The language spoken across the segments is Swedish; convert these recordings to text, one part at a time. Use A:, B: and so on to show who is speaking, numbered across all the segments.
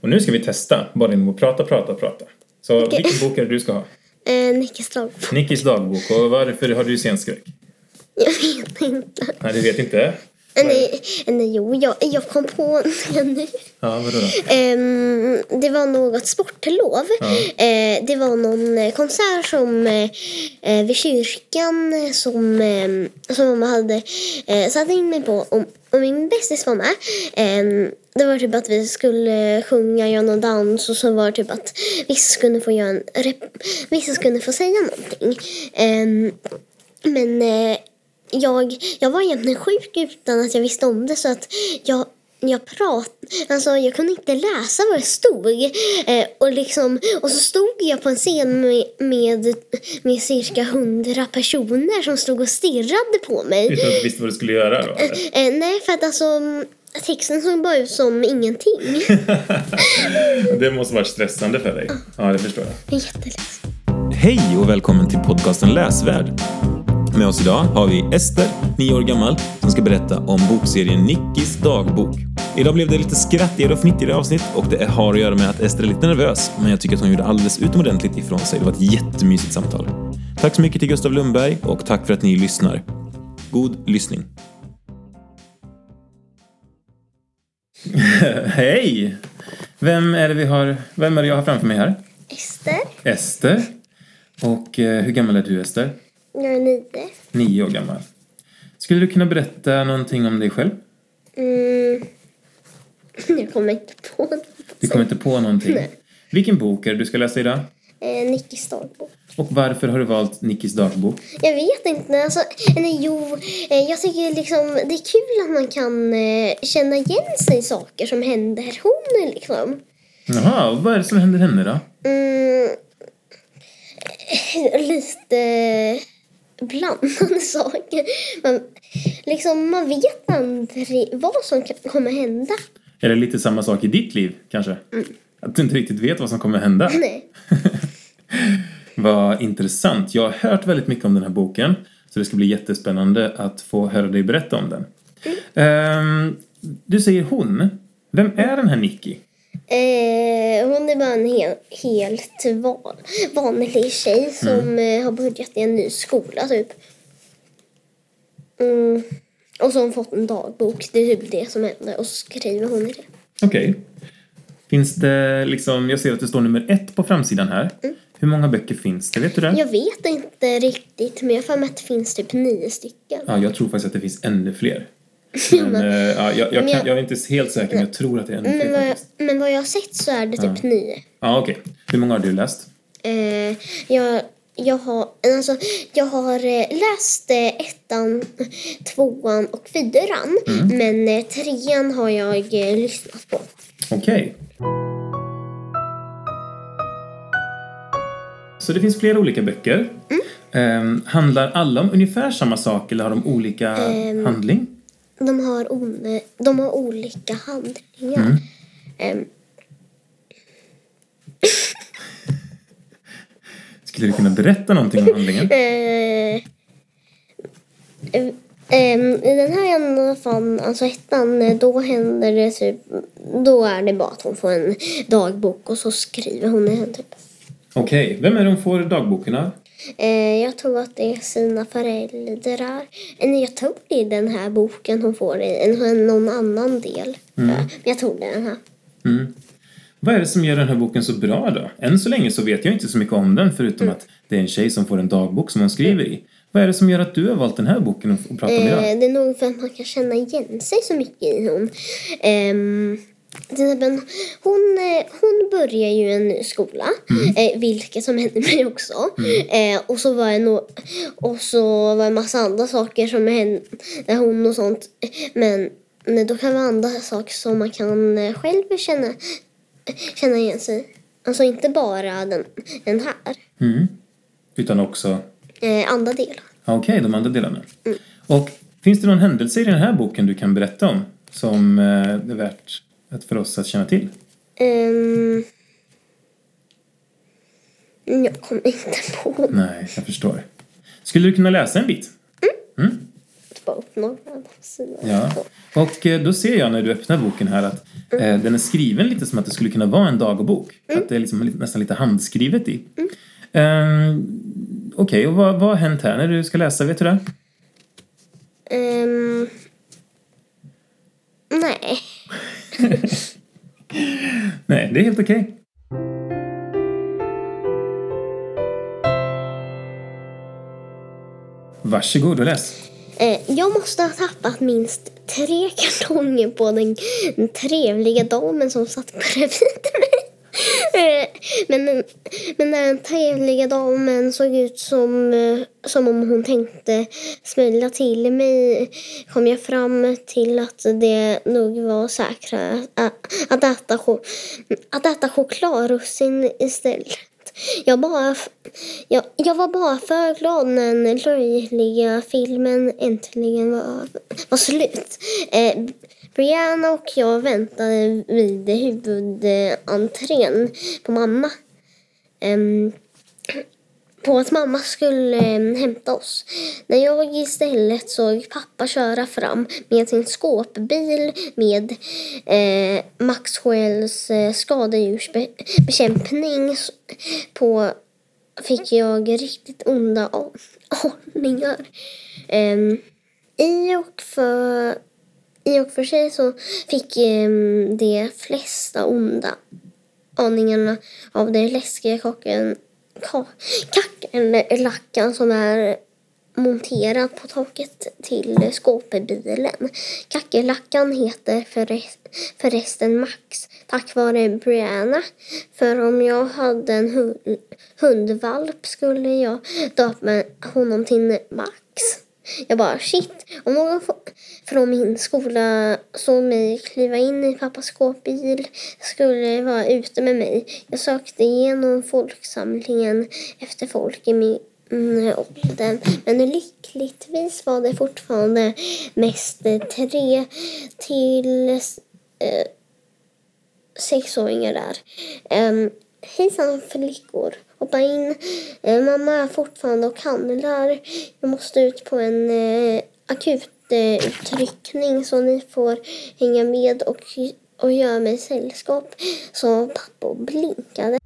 A: Och nu ska vi testa bara genom att prata, prata, prata. Så
B: Okej.
A: vilken bok är det du ska ha?
B: Eh, Nickes dagbok.
A: Nickis dagbok. Och varför har du scenskräck?
B: Jag vet inte.
A: Nej, du vet inte?
B: Eh, Nej, eh, nej jo, jag, jag kom på en nu.
A: Ja, vadå då?
B: Ehm, det var något sportlov.
A: Ja.
B: Eh, det var någon eh, konsert som eh, eh, vid kyrkan eh, som, ehm, som mamma hade eh, satt in mig på. Och, och min bästis var med. Ehm, det var typ att vi skulle sjunga, göra någon dans och så var det typ att vissa skulle få, göra en rep- vissa skulle få säga någonting. Ehm, men eh, jag, jag var egentligen sjuk utan att jag visste om det så att jag, jag prat, alltså jag kunde inte läsa vad det stod. Eh, och, liksom, och så stod jag på en scen med, med, med cirka hundra personer som stod och stirrade på mig.
A: Utan att du visste vad du skulle göra då? eller?
B: Eh, nej, för att alltså mm, texten såg bara ut som ingenting.
A: Det måste varit stressande för dig. Ja, det förstår jag.
B: Jätteläskigt.
C: Hej och välkommen till podcasten Läsvärd. Med oss idag har vi Ester, 9 år gammal, som ska berätta om bokserien Nickis dagbok. Idag blev det lite skrattigare och fnittrigare avsnitt och det har att göra med att Ester är lite nervös, men jag tycker att hon gjorde alldeles utomordentligt ifrån sig. Det var ett jättemysigt samtal. Tack så mycket till Gustav Lundberg och tack för att ni lyssnar. God lyssning.
A: Hej! Vem är det vi har... Vem är det jag har framför mig här?
B: Ester,
A: Ester. Och eh, hur gammal är du, Ester?
B: jag är nio.
A: Nio år gammal. Skulle du kunna berätta någonting om dig själv?
B: Mm. Jag kommer inte på något.
A: Du kommer inte på någonting.
B: Nej.
A: Vilken bok är det du ska läsa idag?
B: Eh, Nickis dagbok.
A: Och varför har du valt Nickis dagbok?
B: Jag vet inte. Alltså, nej, jo, eh, jag tycker liksom det är kul att man kan eh, känna igen sig i saker som händer hon liksom.
A: Jaha, och vad är det som händer henne då?
B: Mm, lite blandade saker. Man, liksom, man vet aldrig vad som kan- kommer hända.
A: Är det lite samma sak i ditt liv, kanske? Att du inte riktigt vet vad som kommer hända?
B: Mm. Nej.
A: Vad intressant. Jag har hört väldigt mycket om den här boken. Så det ska bli jättespännande att få höra dig berätta om den.
B: Mm.
A: Ehm, du säger hon. Vem är den här Nicky?
B: Eh, hon är bara en hel, helt van, vanlig tjej som
A: Mm.
B: eh, har börjat i en ny skola typ. Mm. Och så har hon fått en dagbok. Det är typ det som händer. Och så skriver hon i det.
A: Okej. Finns det liksom, jag ser att det står nummer ett på framsidan här.
B: Mm.
A: Hur många böcker finns det? Vet du det?
B: Jag vet inte riktigt men jag har för mig att det finns typ nio stycken.
A: Ja, jag tror faktiskt att det finns ännu fler. Men, eh, ja, jag, jag,
B: Men
A: kan,
B: jag-
A: jag är inte helt säker, men jag tror att det är ännu
B: Men
A: fler
B: vad, jag,
A: faktiskt.
B: men vad jag har sett så är det typ nio.
A: Ja, okej. Hur många har du läst?
B: Eh, jag, jag, har, alltså, jag har eh, läst eh, ettan, tvåan och fyran. Men eh, trean har jag eh, lyssnat på.
A: Okej. Så det finns flera olika böcker.
B: Mm.
A: Ehm, handlar alla om ungefär samma sak eller har de olika
B: Ehm.
A: handling?
B: De har, on, de har olika handlingar. Ehm,
A: Skulle du kunna berätta någonting om handlingen?
B: eh, ehm, I den här i alla fall, alltså ettan, eh, då händer det typ... Då är det bara att hon får en dagbok och så skriver hon i den typ.
A: Okej, vem är det hon får dagboken av?
B: Eh, jag tror att det är sina föräldrar. Eller jag tror det är den här boken hon får i en, någon annan del. Ja, Men jag tror det är den här.
A: Vad är det som gör den här boken så bra då? Än så länge så vet jag inte så mycket om den förutom att det är en tjej som får en dagbok som hon skriver i. Vad är det som gör att du har valt den här boken att prata om idag?
B: Eh, det är nog för att man kan känna igen sig så mycket i hon. Ehm, till exempel, hon, eh, hon börjar ju en ny skola, eh, vilket som hände mig också. Eh, och, så var det no- och så var det massa andra saker som hände hon och sånt. Men, men då kan det vara andra saker som man kan eh, själv känna, känna igen sig i. Alltså inte bara den, den här,
A: Mm. Utan också
B: eh, andra delar.
A: Ja, Okej, de andra delarna. Och finns det någon händelse i den här boken du kan berätta om som eh, är värt att för oss att känna till?
B: Ehm, Mm, jag kommer inte på
A: Nej, jag förstår. Skulle du kunna läsa en bit?
B: bara upp några sidor.
A: Ja. Och eh, då ser jag när du öppnar boken här att eh, den är skriven lite som att det skulle kunna vara en dagbok. Att det är liksom li- nästan lite handskrivet i. Ehm, Okej, och vad, vad har hänt här när du ska läsa? Vet du det?
B: Ehm, nej.
A: Nej, det är helt okej. Varsågod och läs.
B: Eh, jag måste ha tappat minst tre kartonger på den, den trevliga damen som satt bredvid mig. Eh, Men, den- men den trevliga damen såg ut som, eh, som om hon tänkte smälla till mig kom jag fram till att det nog var säkrare att, att, äta, cho- att äta chokladrussin istället. Jag, bara, f- jag, jag var bara för glad när den löjliga filmen äntligen var, över- var slut. Eh, Brianna och jag väntade vid huvudentrén på mamma. Ehm, på att mamma skulle eh, hämta oss. När jag istället såg pappa köra fram med sin skåpbil med eh, Maxwells eh, skadedjursbekämpning s- på fick jag riktigt onda a- aningar. Ehm, i, och för, I och för sig så fick um, de flesta onda aningarna av den läskiga kakan, ka, kackerlackan som är monterad på taket till skåpebilen. Kackerlackan heter förre- förresten Max tack vare Brianna. För om jag hade en hu- hundvalp skulle jag döpa honom till Max. Jag bara shit, om någon fo- från min skola såg mig kliva in i pappas skåpbil skulle vara ute med mig. Jag sökte igenom folksamlingen efter folk i min ålder. Mm, Men lyckligtvis var det fortfarande mest eh, tre till eh, sexåringar där. Um, Hejsan flickor, hoppa in. Eh, mamma är fortfarande och handlar. Jag måste ut på en eh, akut eh, utryckning så ni får hänga med och, och göra mig sällskap. Så pappa och blinkade.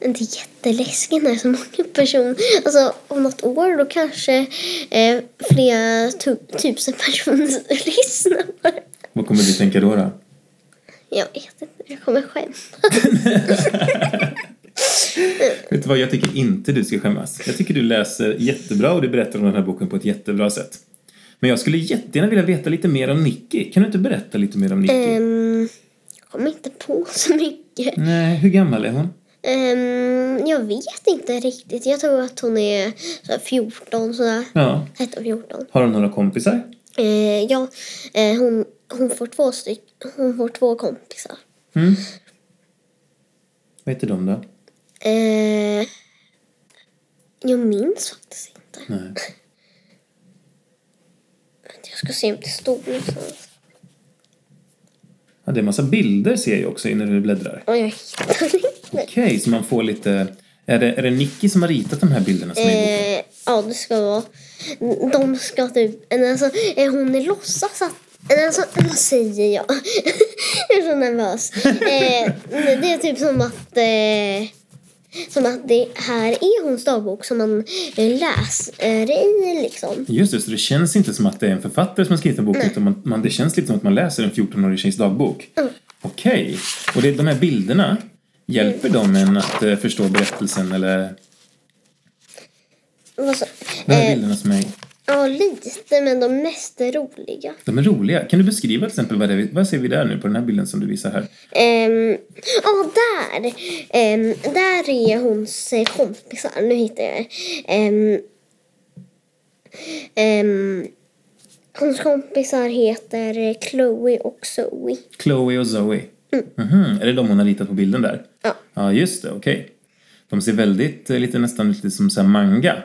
B: Men Det är jätteläskigt när det är så många personer. Alltså om något år då kanske eh, flera tu- tusen personer lyssnar på det.
A: Vad kommer du tänka då? då?
B: Jag vet inte, jag kommer skämmas.
A: Vet du vad, jag tycker inte du ska skämmas. Jag tycker du läser jättebra och du berättar om den här boken på ett jättebra sätt. Men jag skulle jättegärna vilja veta lite mer om Nicky. Kan du inte berätta lite mer om Nicky?
B: Ehm, jag kommer inte på så mycket.
A: Nej, hur gammal är hon?
B: Ehm, jag vet inte riktigt. Jag tror att hon är så här 14, sådär.
A: Ja.
B: 13, 14.
A: Har hon några kompisar?
B: Eh, ja, eh, hon, hon, får två styck, hon får två kompisar.
A: Mm. Vad heter de då?
B: Eh, jag minns faktiskt inte.
A: Nej.
B: Vänta, Jag ska se om det stod någonstans.
A: Ja, det är en massa bilder ser jag också när du bläddrar.
B: Ja, jag hittar inte.
A: Okej, så man får lite... Är det, är det Nicky som har ritat de här bilderna som är i boken?
B: Eh, ja, det ska vara... De ska typ... eller Alltså, eh, hon är låtsas att... eller Alltså, vad säger jag? jag är så nervös. Eh, men det är typ som att... Eh, som att det här är hons dagbok som man eh, läser i, liksom.
A: Just det, så det känns inte som att det är en författare som har skrivit en bok utan man, man, det känns lite som att man läser en 14-årig tjejs dagbok. Okej, och det, de här bilderna, hjälper de en att eh, förstå berättelsen eller
B: Vad så-
A: de här
B: Eh,
A: bilderna som är
B: ja, lite, men de mest roliga.
A: De är roliga. Kan du beskriva till exempel vad, det, är- vad ser vi där nu på den här bilden som du visar här?
B: Ehm, Ja, där! Ehm, där är hons eh, kompisar. Nu hittar jag det. Ehm, ehm, hons kompisar heter eh, Chloe och Zoe.
A: Chloe och Zoe. Mhm, Är det de hon har ritat på bilden där?
B: Ja.
A: Ja, just det. Okej. De ser väldigt, eh, lite, nästan lite som så här manga.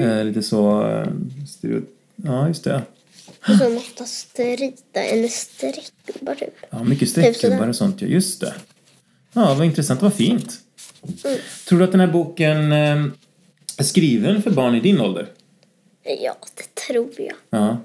A: Eh, lite så... eh, Stereo... Ja, just det.
B: Som oftast rita en streckgubbar, typ.
A: Ja, mycket
B: Typ
A: streckgubbar
B: sådär.
A: och sånt. Ja, just det. Ja, vad intressant. Vad fint. Tror du att den här boken eh, är skriven för barn i din ålder?
B: Ja, det tror jag.
A: Ja.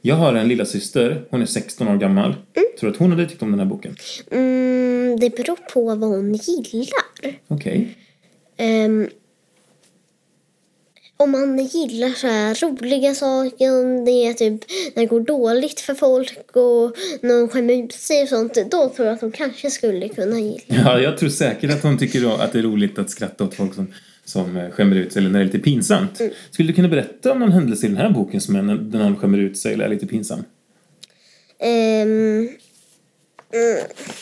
A: Jag har en lilla syster. hon är 16 år gammal. Tror du att hon hade tyckt om den här boken?
B: Mm, det beror på vad hon gillar.
A: Okej.
B: Ehm, om man gillar så här roliga saker, om det är typ när det går dåligt för folk och när de skämmer ut sig och sånt, då tror jag att de kanske skulle kunna gilla.
A: Ja, jag tror säkert att hon tycker då att det är roligt att skratta åt folk som, som eh, skämmer ut sig eller när det är lite pinsamt. Skulle du kunna berätta om någon händelse i den här boken som är när när någon skämmer ut sig eller är lite pinsam?
B: Ehm, mm,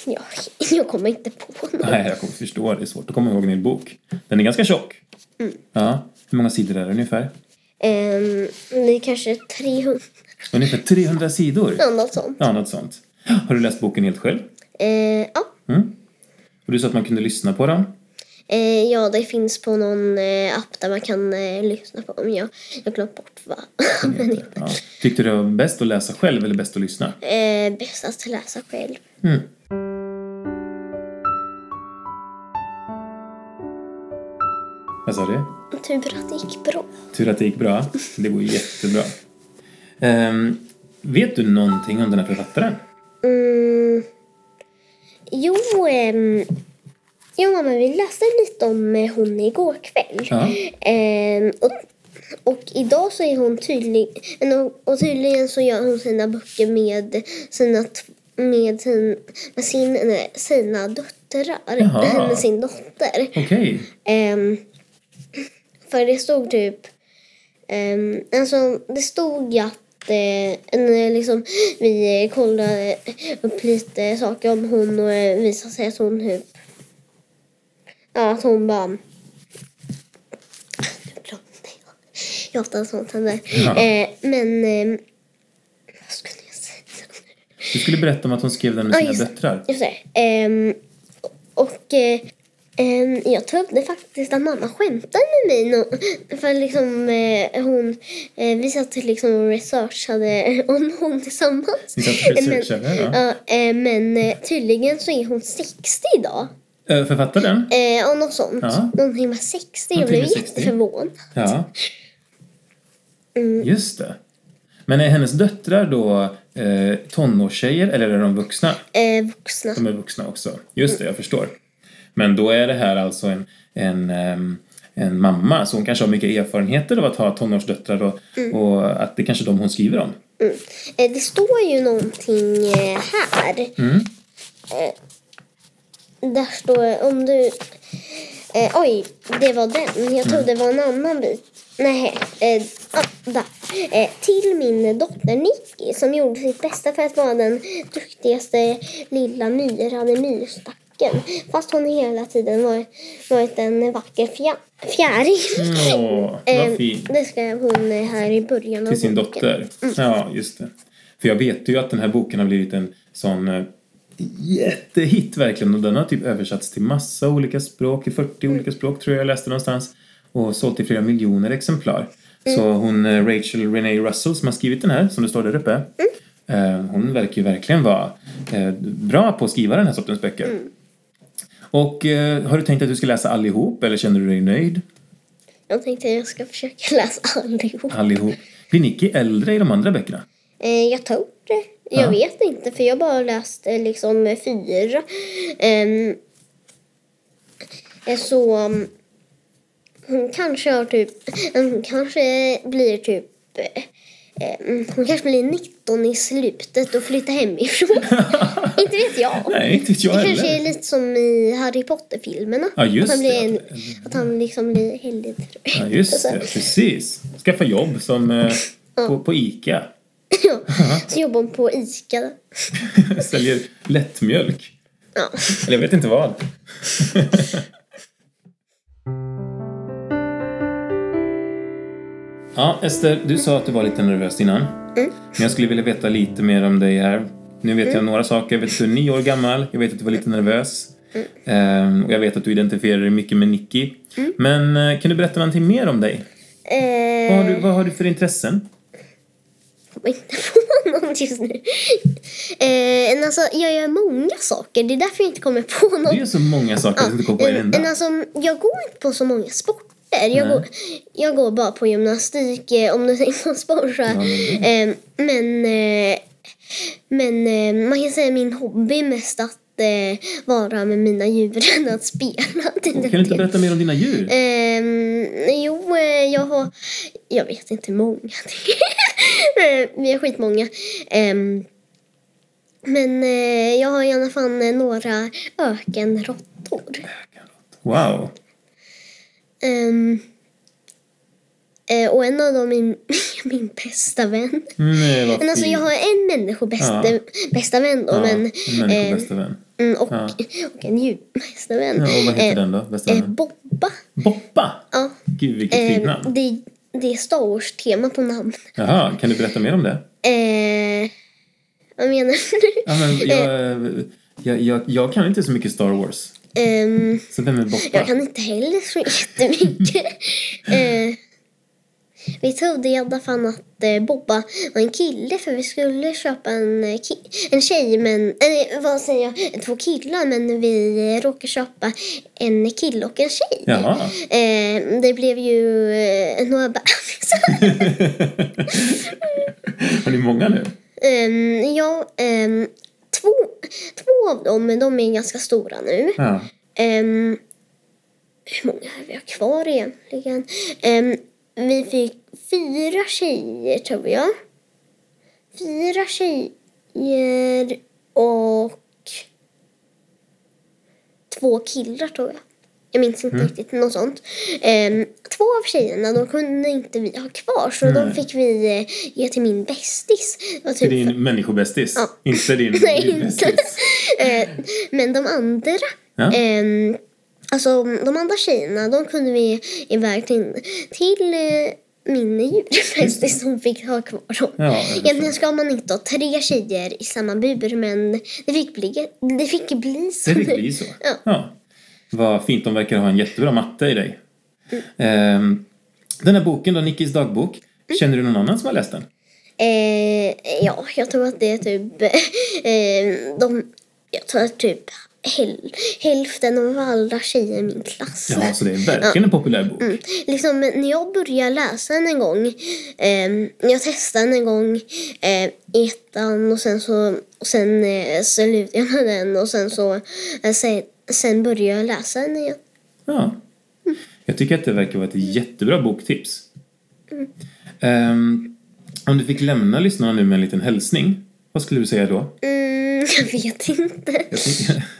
B: ja, jag kommer inte på något.
A: Nej, jag kommer förstå. Det är svårt att komma ihåg en hel bok. Den är ganska tjock. Ja. Hur många sidor är det ungefär?
B: Ehm, det är kanske 300,
A: Ungefär 300 sidor.
B: något sånt.
A: Ja, något sånt. Har du läst boken helt själv?
B: Ehm, ja.
A: Och du sa att man kunde lyssna på den.
B: Eh, ja, det finns på någon eh, app där man kan eh, lyssna på. Men jag jag har glömt bort vad den heter.
A: Ja. Tyckte du det var bäst att läsa själv eller bäst att lyssna? Mm.
B: Eh, bäst att läsa själv.
A: Vad sa du?
B: Tur att det gick bra.
A: Tur att det gick bra. Det går jättebra. Ehm, vet du någonting om den här författaren?
B: Mm. Jo, ehm, ja, mamma, vi läste lite om eh, hon igår kväll.
A: Ja.
B: Ehm, och, och idag så är hon tydlig, men och- och tydligen så gör hon sina böcker med sina t- med sin, med sin, nej, sina döttrar.
A: Jaha.
B: Med sin dotter.
A: Okej.
B: Ehm, för det stod typ... ehm, alltså, det stod ju att eh, när liksom, vi kollade upp lite saker om hon och eh, visade sig att hon typ... Ja, att hon bara... Nu glömde jag. Jag hatar sånt händer.
A: Ja.
B: Eh, men... ehm, vad skulle jag säga?
A: Du skulle berätta om att hon skrev den med
B: Ja,
A: sina
B: just det.
A: döttrar.
B: Just det. Ehm, och eh, ehm, jag trodde faktiskt att mamma skämtade med mig. nå- för liksom eh, hon, eh, vi satt liksom och researchade om hon tillsammans.
A: Ni satt och researchade,
B: men,
A: ja.
B: eh, men eh, tydligen så är hon 60 idag.
A: Eh, Författaren?
B: Eh, och något sånt.
A: Ja.
B: Någonting med 60. Jag
A: Någonting
B: blev
A: med 60.
B: jätteförvånad.
A: Ja.
B: Mm.
A: Just det. Men är hennes döttrar då eh, tonårstjejer eller är de vuxna?
B: Eh, vuxna.
A: De är vuxna också. Just det, jag förstår. Men då är det här alltså en, en, ehm, en mamma, så hon kanske har mycket erfarenheter av att ha tonårsdöttrar och, och att det kanske är de hon skriver om.
B: Mm. Eh, det står ju någonting eh, här.
A: Mm.
B: Eh, där står om du... Eh, oj, det var den. Jag trodde det var en annan bit. Nej, eh, ah, där. Eh, till min dotter Nicky som gjorde sitt bästa för att vara den duktigaste lilla myran i myrstacken. Fast hon hela tiden varit, varit en vacker fjär, fjäril.
A: Åh, Mm, vad
B: Eh,
A: fint.
B: det skrev hon eh, här i början av
A: Till sin
B: boken.
A: dotter. Ja, just det. För jag vet ju att den här boken har blivit en sån eh, jättehit verkligen och den har typ översatts till massa olika språk, i 40 olika språk tror jag jag läste någonstans och sålt i flera miljoner exemplar. Så hon eh, Rachel Renee Russell som har skrivit den här, som det står där uppe, eh, hon verkar ju verkligen vara eh, bra på att skriva den här sortens böcker. Och eh, har du tänkt att du ska läsa allihop eller känner du dig nöjd?
B: Jag tänkte jag ska försöka läsa allihop.
A: Allihop. Blir Nicky äldre i de andra böckerna?
B: Eh, jag tror det. Jag
A: Ja.
B: vet inte, för jag bara läst eh, liksom eh, fyra. Ehm, eh, så mm, hon kanske har typ... Hon kanske blir typ... eh, eh, Hon kanske blir 19 i slutet och flyttar hemifrån. inte vet jag.
A: Nej, inte vet jag
B: det
A: heller.
B: kanske är lite som i Harry Potter-filmerna.
A: Ja, just
B: att han blir
A: det.
B: En, att han liksom blir heldigt
A: Ja, just det. Precis. Skaffa jobb som eh, på, på ICA.
B: Ja, så jobbar hon på ICA.
A: Säljer lättmjölk.
B: Ja.
A: Eller jag vet inte vad. ja, Ester, du sa att du var lite nervös innan. Men jag skulle vilja veta lite mer om dig här. Nu vet jag några saker. Jag vet att du är nio år gammal. Jag vet att du var lite nervös. Ehm, och jag vet att du identifierar dig mycket med Nicky. Men eh, kan du berätta någonting mer om dig?
B: Eh,
A: Vad har du, vad har du för intressen?
B: kommer inte på något just nu. Eh, men alltså, jag gör många saker. Det är därför jag inte kommer på något.
A: Det är så många saker som du kommer på i
B: men,
A: den
B: men
A: där.
B: alltså, jag går inte på så många sporter. Jag,
A: Nej.
B: går, jag går bara på gymnastik, eh, om du tänker på sport. Så.
A: men
B: Eh, men eh, men eh, man kan säga min hobby är mest att eh, vara med mina djur än att spela. till
A: Kan du inte
B: det.
A: berätta mer om dina djur?
B: Ehm, jo, eh, jag har... Jag vet inte hur många. Eh, Vi har skitmånga. Um, men eh, jag har i alla fall eh, några ökenråttor.
A: Wow.
B: Ehm, eh, och en av dem är min, min bästa vän.
A: Nej, Mm, vad
B: Men alltså jag
A: fint.
B: har en människobästa
A: Ja.
B: bästa vän då.
A: Ja,
B: men,
A: en
B: eh,
A: människobästa vän.
B: mm, och,
A: Ja.
B: och en djurbästa vän.
A: Ja, och vad heter
B: Eh,
A: den då? Bästa
B: eh,
A: vännen?
B: Bobba.
A: Boppa!
B: Ja.
A: Gud, vilket
B: Eh,
A: fint namn.
B: det, det är Star Wars-tema på namn.
A: Jaha, kan du berätta mer om det?
B: Eh, vad menar du? Eh,
A: Ja, men jag, jag, jag, jag kan inte så mycket Star Wars.
B: Ehm,
A: Så vem är
B: jag
A: Boppa?
B: kan inte heller så jättemycket. eh, vi trodde i alla fall att eh, Bobba var en kille för vi skulle köpa en, eh, ki- en tjej, men... Eh, vad säger jag? Två killar, men vi eh, råkade köpa en kille och en tjej.
A: Jaha.
B: Eh, det blev ju eh, några bebisar.
A: Har ni många nu?
B: Ehm, ja, ehm, två, två av dem de är ganska stora nu.
A: Ja.
B: Ehm, hur många har vi kvar egentligen? Ehm, vi fick fyra tjejer, tror jag. Fyra tjejer och två killar, tror jag. Jag minns inte
A: Mm.
B: riktigt, något sånt. Ehm, två av tjejerna de kunde inte vi ha kvar, så de
A: Nej.
B: fick vi eh, ge till min bästis. Det var
A: Till
B: typ
A: din människobästis?
B: Ja.
A: Inte din
B: Nej, inte.
A: djurbästis?
B: Eh, men de andra,
A: Ja.
B: ehm, alltså de andra tjejerna, de kunde vi iväg till, till eh, min djurfestis som fick ha kvar dem.
A: Ja, jag förstår.
B: Egentligen ska man inte ha tre tjejer i samma bur, men det fick bli, det fick bli så.
A: Det fick bli så.
B: Ja.
A: Vad fint, de verkar ha en jättebra matte i dig. Ehm, den här boken då, Nickis dagbok. Känner du någon annan som har läst den?
B: Eh, ja, jag tror att det är typ... Eh, de, jag tror att typ häl, hälften av alla tjejer i min klass.
A: Ja, så det är verkligen en populär bok.
B: Mm. Liksom, när jag började läsa den en gång, eh, jag testade den en gång eh, i ettan och sen så och sen eh, slutade jag med den och sen så eh, sen, sen började jag läsa den igen.
A: Ja. Jag tycker att det verkar vara ett jättebra boktips. Ehm, om du fick lämna lyssnarna nu med en liten hälsning, vad skulle du säga då?
B: Mm, jag vet inte.
A: Jag tänker-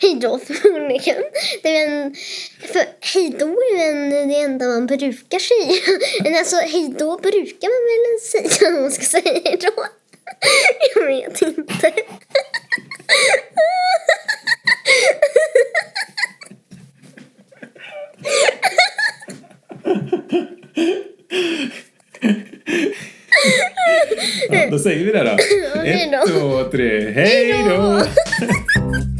B: Hej då förmodligen. Det är en, för hej då är väl det enda man brukar säga. Men alltså hej då brukar man väl säga om man ska säga hej då. Jag vet inte.
A: ja, då säger vi det då.
B: hej då.
A: Ett, två, tre. Hej då!